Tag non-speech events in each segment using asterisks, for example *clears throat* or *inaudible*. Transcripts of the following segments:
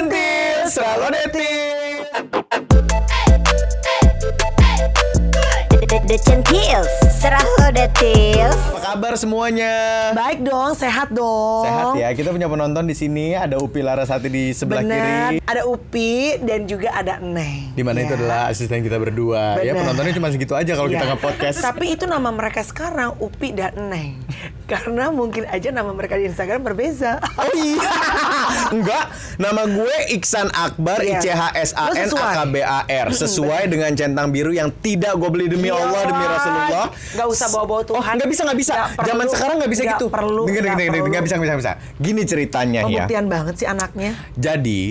Decentil, selalu detil. The Gentiles, serah lo details. Apa kabar semuanya? Baik dong, sehat dong. Sehat ya. Kita punya penonton di sini. Ada Upi Larasati di sebelah Bener. kiri. Ada Upi dan juga ada Neng. Di mana Ya. itu adalah asisten kita berdua. Ya Bener. penontonnya cuma segitu aja kalau kita Ya. nge podcast. Tapi itu nama mereka sekarang Upi dan Neng. *laughs* Karena mungkin aja nama mereka di Instagram berbeza. Oh iya. *laughs* Enggak. Nama gue Iksan Akbar, I Iya. C H S A N Lo A sesuai. K B A R. *laughs* Sesuai dengan centang biru yang tidak gue beli demi Iya, Allah demi Pak. Rasulullah. Nggak usah bawa-bawa Tuhan. Oh, nggak bisa nggak bisa. Nggak Zaman perlu. sekarang nggak bisa Nggak gitu. perlu. Dengar dengar Nggak dengar perlu. nggak bisa nggak bisa nggak bisa. Gini ceritanya ya. Pembuktian banget sih anaknya. Jadi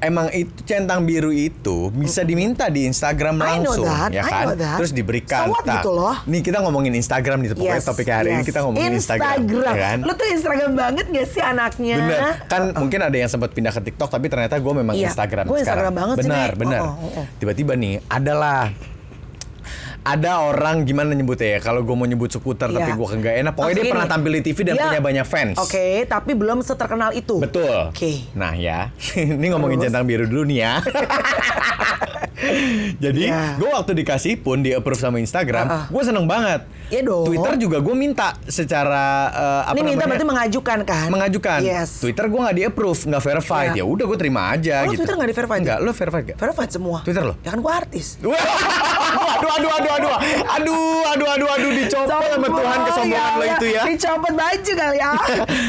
emang itu centang biru itu bisa diminta di Instagram I know langsung that, ya I kan know that. terus diberikan So what gitu loh. nih kita ngomongin Instagram nih pokoknya Yes, topiknya hari ini yes. kita ngomongin Instagram, Instagram. ya kan Lu tuh Instagram banget gak sih anaknya? Bener, kan mungkin ada yang sempat pindah ke TikTok tapi ternyata gue memang Iya, Instagram gua Instagram sekarang. banget sih, benar, Nek. benar. Oh, oh, oh. Tiba-tiba nih, adalah ada orang gimana nyebutnya ya? Kalau gue mau nyebut skuter tapi Iya. gue nggak enak. Pokoknya dia Maksudnya pernah gini, tampil di TV dan dia- punya banyak fans. Oke, tapi belum seterkenal itu. Betul. Oke. Nah ya, *laughs* ini ngomongin Terus? centang biru dulu nih *laughs* ya. Jadi Ya. gue waktu dikasih pun di approve sama Instagram, Ah, ah. gue seneng banget. Iya dong. Twitter juga gue minta secara eh, apa Ini minta namanya, berarti mengajukan kan? mengajukan. Yes. Twitter gue nggak di approve, nggak verified. Ya Iya. udah gue terima aja Oh, lu gitu. Twitter nggak di-verified? Nggak, lo verified gak? Verified semua. Twitter lo? Ya kan gua artis. Wah, *laughs* aduh, aduh, aduh, aduh, aduh, aduh, aduh, aduh, dicopot sama Sombong, Tuhan kesombongan lo ya itu ya. Allah. Dicopot baju kali *laughs* ya.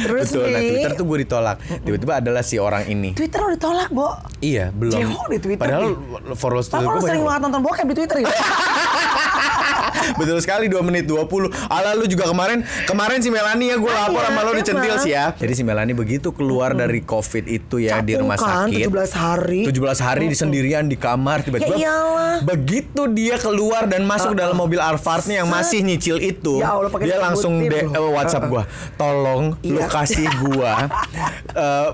Terus Betul, nih. nah Twitter tuh gue ditolak. Tiba-tiba adalah si orang ini. Twitter lo ditolak, Bo. Iya, belum. Jehok di Twitter Padahal nih. followers Twitter Kalau gue lo sering banyak. banget nonton bokep di Twitter ya. Betul sekali 2 menit 20 Ala lu juga kemarin Kemarin si Melani ya Gue lapor iya, sama lu emang. dicentil sih ya Jadi si Melani begitu keluar dari covid itu *laughs* ya Di Cakung rumah kan, sakit 17 hari. 17 hari di sendirian di kamar Tiba-tiba Ya iyalah. Uh-uh. Begitu dia keluar dan masuk dalam mobil Alphardnya Yang masih nyicil itu Ya Allah, pakai Dia disebutin langsung de- loh. eh, Whatsapp gua Tolong lu Iya. kasih *laughs* gua eh,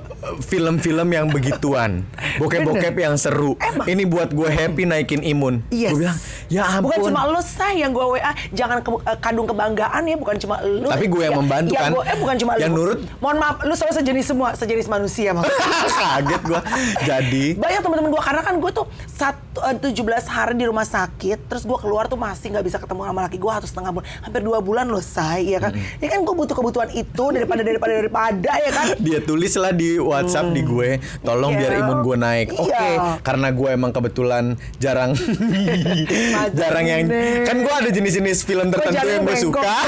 Film-film yang begituan Bokep-bokep yang seru Ini buat gue happy naikin imun Yes. Gue bilang ya ampun Bukan cuma lo say yang gue WA, jangan ke- eh, kandung kebanggaan ya, bukan cuma lo. Tapi gue yang membantu kan. gua- eh bukan cuma lo. Yang nurut. Mohon maaf, lo selalu sejenis semua, sejenis manusia *laughs* maksudnya. *laughs* kaget gua jadi Banyak teman-teman gue karena kan gue tuh satu, eh, 17 hari di rumah sakit, terus gue keluar tuh masih nggak bisa ketemu sama laki gue satu setengah bulan, hampir dua bulan lo say, ya kan? Ini kan gue butuh kebutuhan itu daripada daripada daripada ya kan? dia tulislah di WhatsApp di gue tolong Iya. biar imun gue naik Iya. oke karena gue emang kebetulan jarang *laughs* jarang yang Bener. kan gue ada jenis-jenis film tertentu jarang yang gue bengkok. suka *laughs*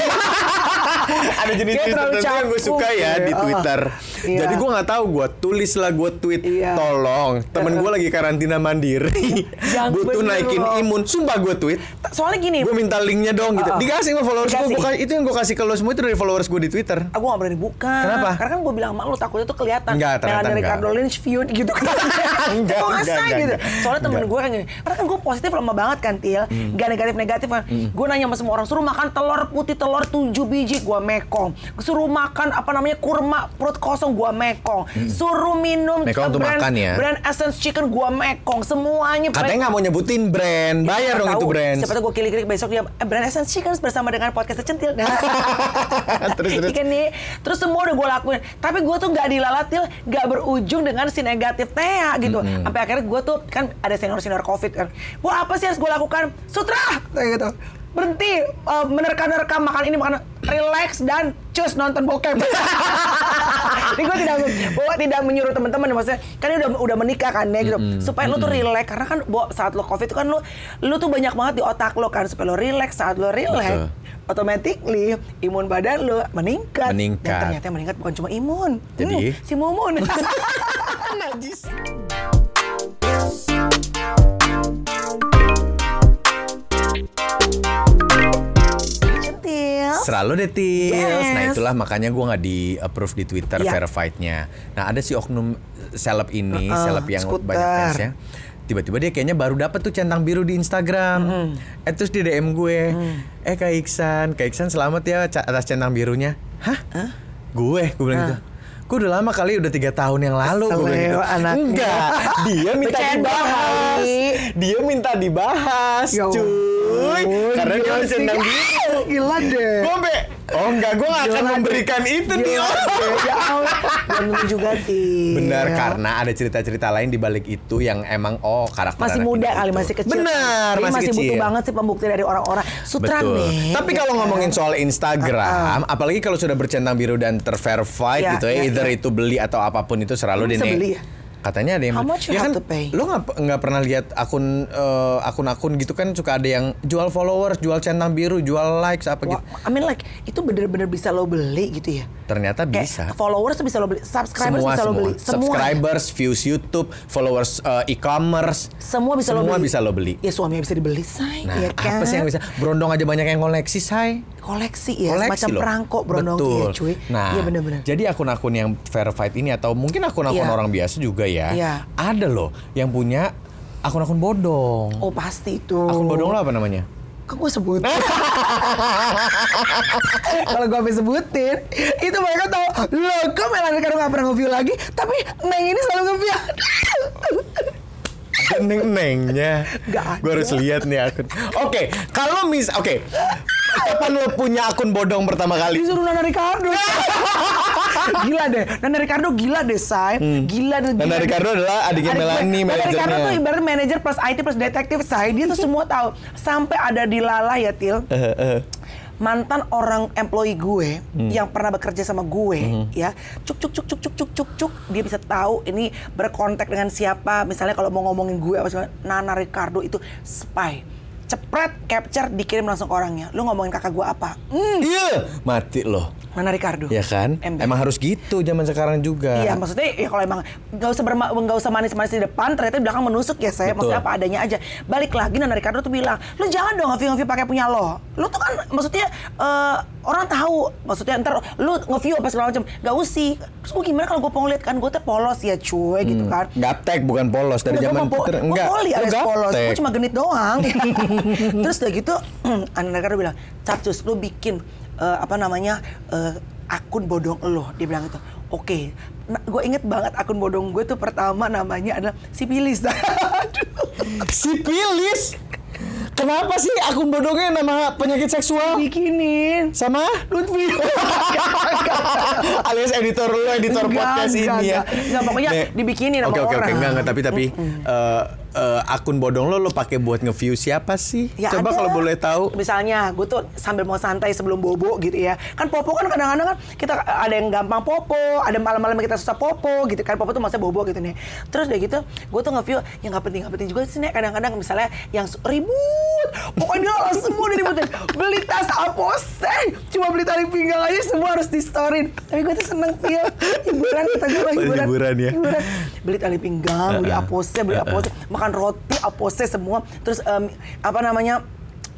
*laughs* ada Dia jenis-jenis terlalu tertentu yang gue canggung suka ya deh. di Ah. Twitter Iya. jadi gue nggak tahu gue tulislah gue tweet Iya. tolong temen gue lagi karantina mandiri *laughs* Yang butuh bener naikin loh. imun sumpah gue tweet Ta- Soalnya gini, gue minta linknya dong gitu Uh-uh. dikasih sama followers gue Dikasih. Gua ka- itu yang gue kasih ke lo semua itu dari followers gue di Twitter aku gak Ah, berani buka. Kenapa? Karena kan gue bilang sama lu takutnya tuh kelihatan. Enggak, ternyata Melanie enggak. Ricardo Lynch feud gitu *laughs* kan. Enggak, Kok enggak, ngasai enggak, gitu. enggak. Soalnya temen Enggak. Hmm. gue kan gini, karena kan gue positif lama banget kan, Til. Gak negatif-negatif kan. Gue nanya sama semua orang, suruh makan telur putih, telur 7 biji, gue mekong. Suruh makan apa namanya, kurma perut kosong, gue mekong. Suruh minum Hmm. Mekong tuh brand, makan ya. brand Essence Chicken, gue mekong. Semuanya. Katanya nggak mau nyebutin brand, bayar dong itu brand. Iya, Siapa tahu gue kilik-kilik besok dia eh, brand Essence Chicken bersama dengan podcast Centil. *laughs* Terus, terus. Ikan kan, nih. Terus semua udah gue lakuin. Tapi gue tuh nggak dilalatil, nggak berujung dengan si negatif Tea gitu. Sampai akhirnya gue tuh kan ada senior-senior COVID kan. Gue apa sih harus gue lakukan? Sutra! Kayak gitu. Berhenti eh, menerka-nerka makan ini makan relax dan cus nonton bokep. *laughs* Ini gue tidak bahwa tidak menyuruh teman-teman maksudnya kan ini udah udah menikah kan ya gitu. Supaya lu tuh relax karena kan Bo, saat lo covid itu kan lu lu tuh banyak banget di otak lo kan supaya lo relax saat lo Betul. relax automatically imun badan lo meningkat. Meningkat. Dan ternyata yang meningkat bukan cuma imun. Jadi? Hmm, si mumun. *laughs* Najis. Centil. Selalu details. Nah Yes. itulah makanya gue nggak di approve di Twitter Iya. verified-nya. Nah ada si oknum seleb ini, Uh-uh, seleb yang skuter. banyak fansnya. Tiba-tiba dia kayaknya baru dapet tuh centang biru di Instagram. Eh terus di DM gue, Mm. eh Kak Iksan, Kak Iksan selamat ya ca- atas centang birunya. Hah? Gue, gue bilang gitu. Gue udah lama kali, udah tiga tahun yang lalu gue bilang gitu. Kesel ya, anaknya. Enggak, dia minta Bercanda dibahas. kali. Dia minta dibahas, Ya cuy. ampun, Karena dia dia centang sih. Ah, biru. gila deh. Gue sampe, oh enggak, gue gak akan Gila, memberikan itu Gila nih deh, Ya Allah, dan menuju ganti. Ya. Benar, Iya. karena ada cerita-cerita lain di balik itu yang emang, oh karakter masih anak muda ini kali gitu. masih kecil. Benar, Jadi masih, masih kecil. butuh banget sih pembuktian dari orang-orang. Sutra Betul. nih. Ah. Tapi kalau ngomongin soal Instagram, apalagi kalau sudah bercentang biru dan terverified Ya, gitu ya, ya, either ya. itu beli atau apapun itu selalu Emang bisa dine- beli ya? Katanya ada yang How much you ya have kan, to pay? Lo nggak nggak pernah lihat akun eh, akun-akun gitu kan suka ada yang jual followers, jual centang biru, jual likes apa Wah, gitu. I mean like itu bener-bener bisa lo beli gitu ya. Ternyata Kayak bisa. followers bisa lo beli, subscribers semua bisa lo semua beli, semua. subscribers, views YouTube, followers eh, e-commerce, Semua bisa lo beli. semua bisa lo beli. Ya suaminya bisa dibeli, say. Nah, ya kan? apa sih yang bisa? Berondong aja banyak yang koleksi, say. koleksi ya, koleksi semacam loh. perangkok berondong Betul. ya cuy. Nah, Iya bener-bener. jadi akun-akun yang verified ini atau mungkin akun-akun Iya. orang biasa juga ya, Iya. ada loh yang punya akun-akun bodong. Oh pasti itu. Akun bodong lo apa *laughs* namanya? Kok gue sebut? *laughs* Kalau gue sampai sebutin, itu mereka tahu. Loh, kok Melanie Karo nggak pernah nge-view lagi? Tapi Neng ini selalu nge-view. *laughs* Ada neng-nengnya. Nggak ada. Gue harus lihat nih akun. Oke, kalau mis, oke. Kapan lo punya akun bodong pertama kali? Disuruh Nana *laughs* Ricardo. gila deh. Nana Ricardo gila deh, Say. Gila deh. gila Hmm. Nana deh. Ricardo adalah adiknya Adik gue. Melanie, Nana Ricardo manajernya. tuh ibarat manajer plus IT plus detektif, Say. Dia *laughs* tuh semua tahu. Sampai ada di Lala ya, Til. Eh, mantan orang employee gue Hmm. yang pernah bekerja sama gue ya cuk cuk cuk cuk cuk cuk cuk cuk dia bisa tahu ini berkontak dengan siapa misalnya kalau mau ngomongin gue apa segala Nana Ricardo itu spy cepret capture dikirim langsung ke orangnya lu ngomongin kakak gue apa Hmm, Iya, mati loh. Nana Ricardo Ya kan? MB. Emang harus gitu zaman sekarang juga. Iya, maksudnya ya kalau emang nggak usah berma, nggak usah manis-manis di depan, ternyata di belakang menusuk ya saya. Betul. Maksudnya apa adanya aja. Balik lagi Nana Ricardo tuh bilang, lu jangan dong nge-view nge-view pakai punya lo. Lu tuh kan maksudnya eh, orang tahu, maksudnya ntar lu nge-view apa segala macam, nggak usih. Terus gue gimana kalau gue pengen kan gue tuh polos ya cuy gitu Hmm. kan. Gaptek bukan polos dari Udah, gua zaman mau po- Peter- gua poli Lo alias polos, gaptek. gue cuma genit doang. *laughs* Terus udah gitu, *clears throat* Anak Ricardo bilang, Capcus, lu bikin eh, apa namanya eh, akun bodong lo. Dia bilang gitu, oke. gue inget banget akun bodong gue tuh pertama namanya adalah Sipilis. *laughs* Aduh. Sipilis? Kenapa sih akun bodongnya nama penyakit seksual? Bikinin. *laughs* Sama? Lutfi. Alias editor lu, editor Enggak, podcast ini enggak, ya. enggak. Enggak, pokoknya dibikinin sama oke, oke, Oke, orang. enggak, enggak, tapi tapi eh, eh, akun bodong lo lo pakai buat nge-view siapa sih? Ya Coba ada. kalau boleh tahu. Misalnya gue tuh sambil mau santai sebelum bobo gitu ya. Kan popo kan kadang-kadang kan kita ada yang gampang popo, ada malam-malam yang kita susah popo gitu kan. Popo tuh maksudnya bobo gitu nih. Terus udah gitu gue tuh nge-view yang gak penting-gak penting juga sih Nek. kadang-kadang misalnya yang su- ribut. Pokoknya dia langsung semua diributin. Beli tas aposen, cuma beli tali pinggang aja semua harus di-storin. Tapi gue tuh seneng ya. Hiburan kata gue mah, hiburan. Hiburan ya. Hiburan. Beli tali pinggang, beli Uh-uh. apose, beli Uh-uh. apose makan roti apose semua terus em, apa namanya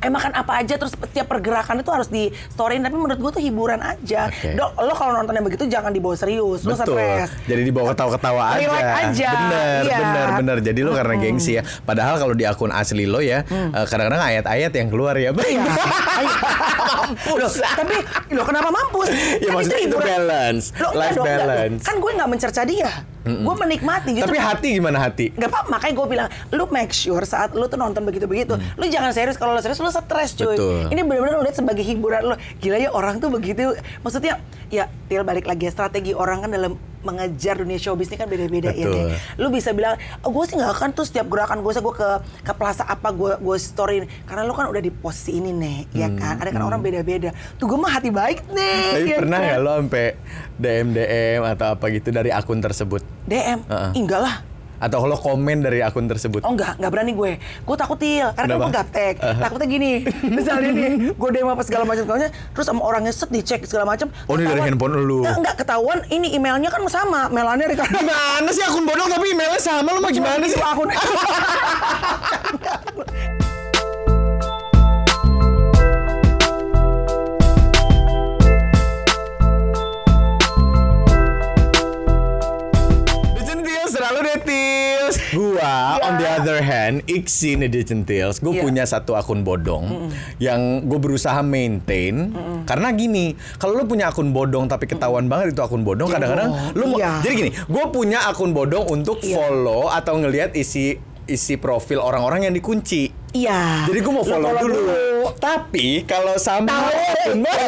eh makan apa aja terus setiap pergerakan itu harus di storyin tapi menurut gue tuh hiburan aja Oke. Dok, lo kalau nonton yang begitu jangan dibawa serius lo Betul. stres Jadi dibawa ketawa-ketawa aja. Relax aja, Bener, iya. bener, bener. Jadi lo karena gengsi ya. Padahal kalau di akun asli lo ya, eh, kadang-kadang ayat-ayat yang keluar ya. Mm. *laughs* Iya. Mampus. Loh, tapi lo kenapa mampus? Ya, maksudnya itu hiburan. balance. Loh, enggak Life dong, enggak. balance. Kan gue nggak mencerca dia. Gue menikmati. justru Tapi hati gimana hati? Gak apa, makanya gue bilang, lu make sure saat lu tuh nonton begitu-begitu, lu jangan serius. Kalau lu serius, lu stres cuy. Hmm. Betul. Ini benar-benar lu lihat sebagai hiburan lu. Gila ya orang tuh begitu. Maksudnya, ya til balik lagi ya, strategi orang kan dalam mengejar dunia showbiz ini kan beda-beda ya. Betul. Nek. Lu bisa bilang, oh, gue sih nggak akan tuh setiap gerakan gue, gue ke ke plaza apa gue gue storyin. Karena lu kan udah di posisi ini nih, ya kan. Ada kan orang beda-beda. Tuh gue mah hati baik nih. Hmm, Tapi ya pernah kan? nggak lo sampai DM DM atau apa gitu dari akun tersebut? DM, Heeh. "Ih, enggak lah. Atau lo komen dari akun tersebut? Oh enggak, enggak berani gue. Gue takut til, karena Kenapa? gue gaptek. Takutnya *laughs* gini, misalnya nih, gue DM apa segala macam segalanya, terus sama orangnya set dicek segala macam. Oh, ini dari ketahuan- handphone lu. Enggak, enggak ketahuan. Ini emailnya kan sama, Melania *laughs* Ricardo. Gimana sih akun bodong tapi emailnya sama lo mau gimana sih? Itu akun. *laughs* Decentils selalu detils. Gua on the other hand, Iksi nih Decentils. Gue Iya. punya satu akun bodong yang gue berusaha maintain karena gini, kalau lo punya akun bodong tapi ketahuan banget itu akun bodong, kadang-kadang lo mau- Iya. jadi gini, gue punya akun bodong untuk follow atau ngelihat isi isi profil orang-orang yang dikunci. Iya. Jadi gue mau Lo follow, dulu. tapi kalau somehow *laughs* Tahu. Iya.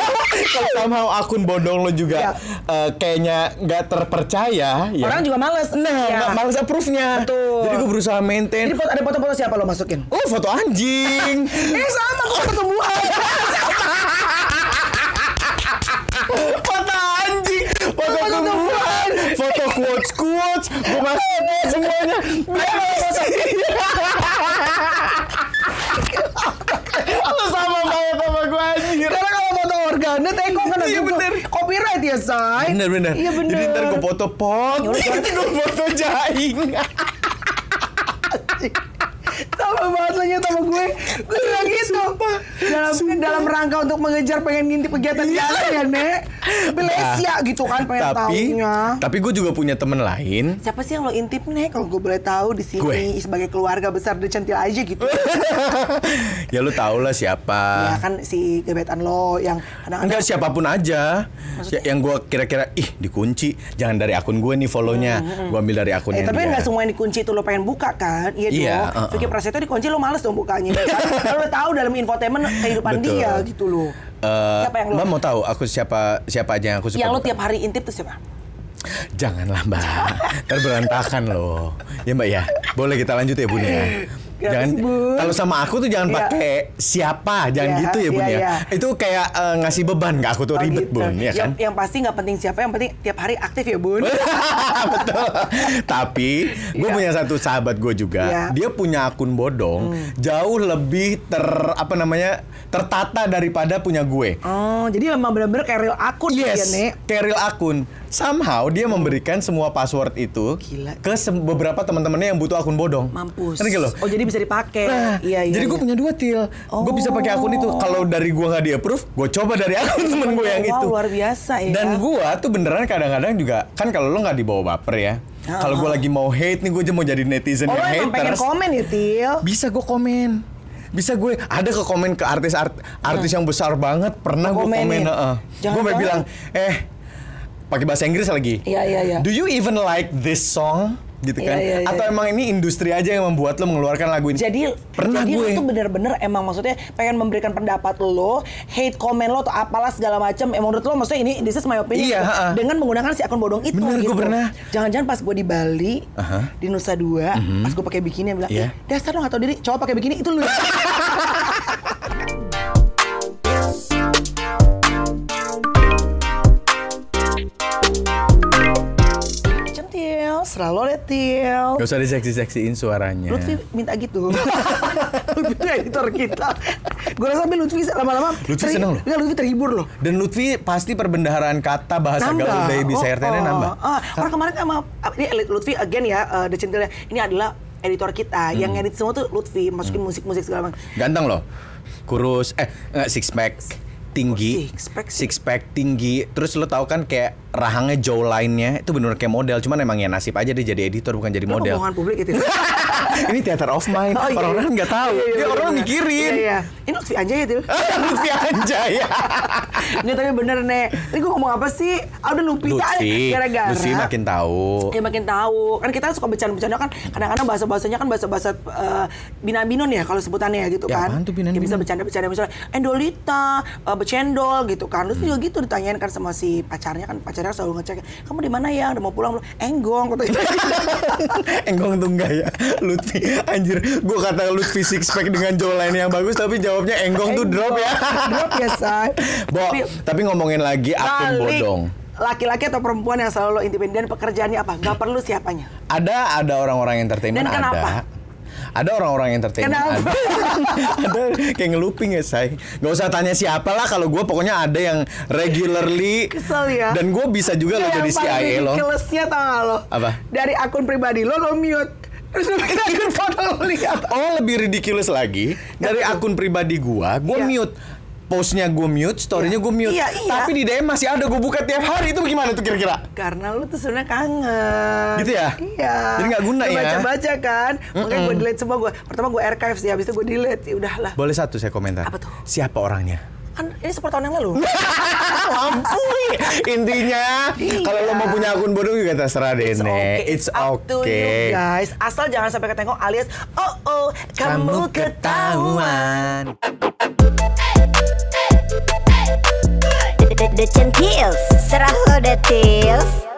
kalau somehow akun bodong lo juga eh, kayaknya nggak terpercaya ya. Orang juga males. Nah, Ya. nggak males approve-nya. Betul. Jadi gue berusaha Ini maintain. foto- ada foto-foto siapa lo *laughs* masukin? Oh, foto anjing. *laughs* Eh sama kok pertemuan. foto anjing, foto Foto tumbuhan, foto quotes quotes, gue masukin semuanya. Bebas. Lo sama banget sama gue anjir. Karena kalau foto organet eh kok kena *laughs* Iya, juga bener. copyright ya say. Bener bener. Iya bener. Jadi ntar gue foto pot, Ya udah, nanti gue foto jaing. Sama banget lagi sama gue. Gue bilang gitu. Dalam, dalam rangka untuk mengejar pengen ngintip kegiatan jalan ya Nek. Belesia gitu kan pengen Iya. Nah, tapi, taunya. tapi gue juga punya temen lain. *laughs* Siapa sih yang lo intip nih kalau gue boleh tahu di sini Gue. sebagai keluarga besar dan centil aja gitu. ya lu tau lah ya siapa. kan si gebetan lo yang kadang-kadang Enggak siapapun aja Ya, Yang gue kira-kira Ih dikunci Jangan dari akun gue nih follownya Gue ambil dari akun Eh, yang tapi dia. nggak semua yang dikunci itu lo pengen buka kan? Iya Iya, dong. uh-uh. Vicky Prasetyo dikunci lo males dong bukanya. Karena *laughs* lo tahu dalam infotainment kehidupan Betul. dia gitu loh. Eh, siapa yang lo? Mbak mau tahu aku siapa siapa aja yang aku suka yang lo buka? tiap hari intip tuh siapa? Janganlah mbak Ntar berantakan loh Ya mbak ya Boleh kita lanjut ya bun ya Kenapa Jangan sih, Bun? Kalau sama aku tuh jangan Iya. pakai siapa Jangan Iya, gitu ya bun iya, ya iya. Itu kayak eh, ngasih beban ke aku tuh Oh, ribet gitu. bun ya Yang- kan Yang pasti nggak penting siapa, yang penting tiap hari aktif ya bun. *laughs* Betul. Tapi gue Iya. punya satu sahabat gue juga. Iya. Hmm. Dia punya akun bodong jauh lebih ter apa namanya tertata daripada punya gue. *laughs* oh, jadi memang benar-benar kayak real akun ya Yes, Nek. Keril akun. Somehow dia memberikan semua password itu Hmm. Gila. ke sem- beberapa teman-temannya yang butuh akun bodong. Mampus. Ngerti nggak lo? Oh, jadi bisa dipakai. Nah, iya, iya. jadi gue iya. Oh. punya dua til. Gue bisa pakai akun itu. Kalau dari gue nggak di approve, gue coba dari *laughs* akun temen gue yang iya. Wow, itu. luar biasa ya. Dan gue tuh beneran kadang-kadang juga kan kalau lo nggak dibawa baper ya. Kalau gue lagi mau hate nih, gue aja mau jadi netizen Oh, lo yang emang pengen haters. komen ya, Til? Bisa gue komen. Bisa gue ada ke komen ke artis art- artis yang besar banget pernah gue komen. Komenin. heeh. Jangan Gue jangan. bilang eh pakai bahasa Inggris lagi. Iya, iya, iya. Do you even like this song? Gitu Iya, kan? iya, iya, Atau iya. emang ini industri aja yang membuat lo mengeluarkan lagu ini? Jadi pernah jadi gue. lo tuh bener-bener emang maksudnya pengen memberikan pendapat lo, hate komen lo atau apalah segala macam. Emang menurut lo maksudnya ini this is my opinion Iya, gitu. ha-ha. dengan menggunakan si akun bodong itu Bener, gue gitu. pernah. Jangan-jangan pas gue di Bali, Aha. Mhm. di Nusa Dua, pas gue pakai bikini yang bilang, Iya. "Ih, dasar lo gak tau diri, cowok pakai bikini itu lu." *laughs* Centil, selalu letil. Gak usah diseksi-seksiin suaranya. Lutfi minta gitu. *laughs* Lutfi tuh editor kita. Gue rasa sampai Lutfi lama-lama. Lutfi seneng loh. Enggak, Lutfi terhibur loh. Dan Lutfi pasti perbendaharaan kata bahasa Gaul dari bisa Oh, RTN oh, nambah. oh. Orang kemarin sama ini Lutfi again ya, eh, The Centilnya. Ini adalah editor Hmm. kita yang edit semua tuh Lutfi masukin musik-musik segala macam. Ganteng loh. Kurus eh enggak six pack tinggi. oh, Six pack sih. Six pack tinggi. Terus lo tau kan kayak rahangnya jawline-nya itu bener kayak model. Cuman emang ya nasib aja dia jadi editor bukan jadi model. *laughs* Pembohongan publik itu. Ini theater of mind. Oh, iya, Orang-orang iya. nggak tahu. Iya, iya, dia orang bener. mikirin. Iya, iya. Ini Lutfi aja ya, *laughs* Til. Lutfi Anjaya. Nggak, tapi bener, Nek. Ini gue ngomong apa sih? Ah, udah Lupita. Lutfi, Gara-gara. Lutfi makin *laughs* tahu. ya makin tahu kan kita suka bercanda-bercanda kan kadang-kadang bahasa bahasanya kan bahasa bahasa binabinun ya kalau sebutannya gitu Ya, kan apaan tuh binan-binun? Ya, bisa bercanda-bercanda misalnya endolita eh, becendol gitu kan terus juga gitu ditanyain kan sama si pacarnya kan pacarnya selalu ngecek kamu di mana ya udah mau pulang belum enggong katanya Enggong tuh enggak ya Lutfi Anjir Gue kata Lutfi six pack dengan jawline yang bagus Tapi jawabnya *laughs* enggong tuh drop ya drop ya say Bo, Tapi, tapi ngomongin lagi akun balik, bodong laki-laki atau perempuan yang selalu lo intipin dan pekerjaannya apa nggak perlu siapanya Ada ada orang-orang entertainment Dan kenapa? ada ada orang-orang entertainment Kenapa? *laughs* ada. ada kayak ngeluping ya say Gak usah tanya siapa lah kalau gue pokoknya ada yang regularly Kesel ya. dan gue bisa juga lo Yang jadi paling CIA lo ridiculousnya tau gak lo? Apa? Dari akun pribadi lo, lo mute. Terus lo bikin akun foto lo lihat. oh lebih ridiculous lagi dari akun pribadi gue gue Iya. mute postnya gue mute storynya gue mute Iya, iya. tapi di DM masih ada gue buka tiap hari itu gimana tuh kira-kira Karena lo tuh sebenarnya kangen. Gitu ya? Iya. Jadi nggak guna ya? Baca-baca kan. Makanya gue delete semua gue. Pertama gue archive sih, habis itu gue delete. Ya udahlah. boleh satu saya komentar Apa tuh? siapa orangnya Kan ini sepuluh tahun yang lalu. Ampun. Intinya Iya. kalau lo mau punya akun bodong juga terserah deh, It's Nek. okay. It's up to okay. you guys. Asal jangan sampai ketengok alias, oh oh, kamu, ketahuan. the the centils, serah lo the tils.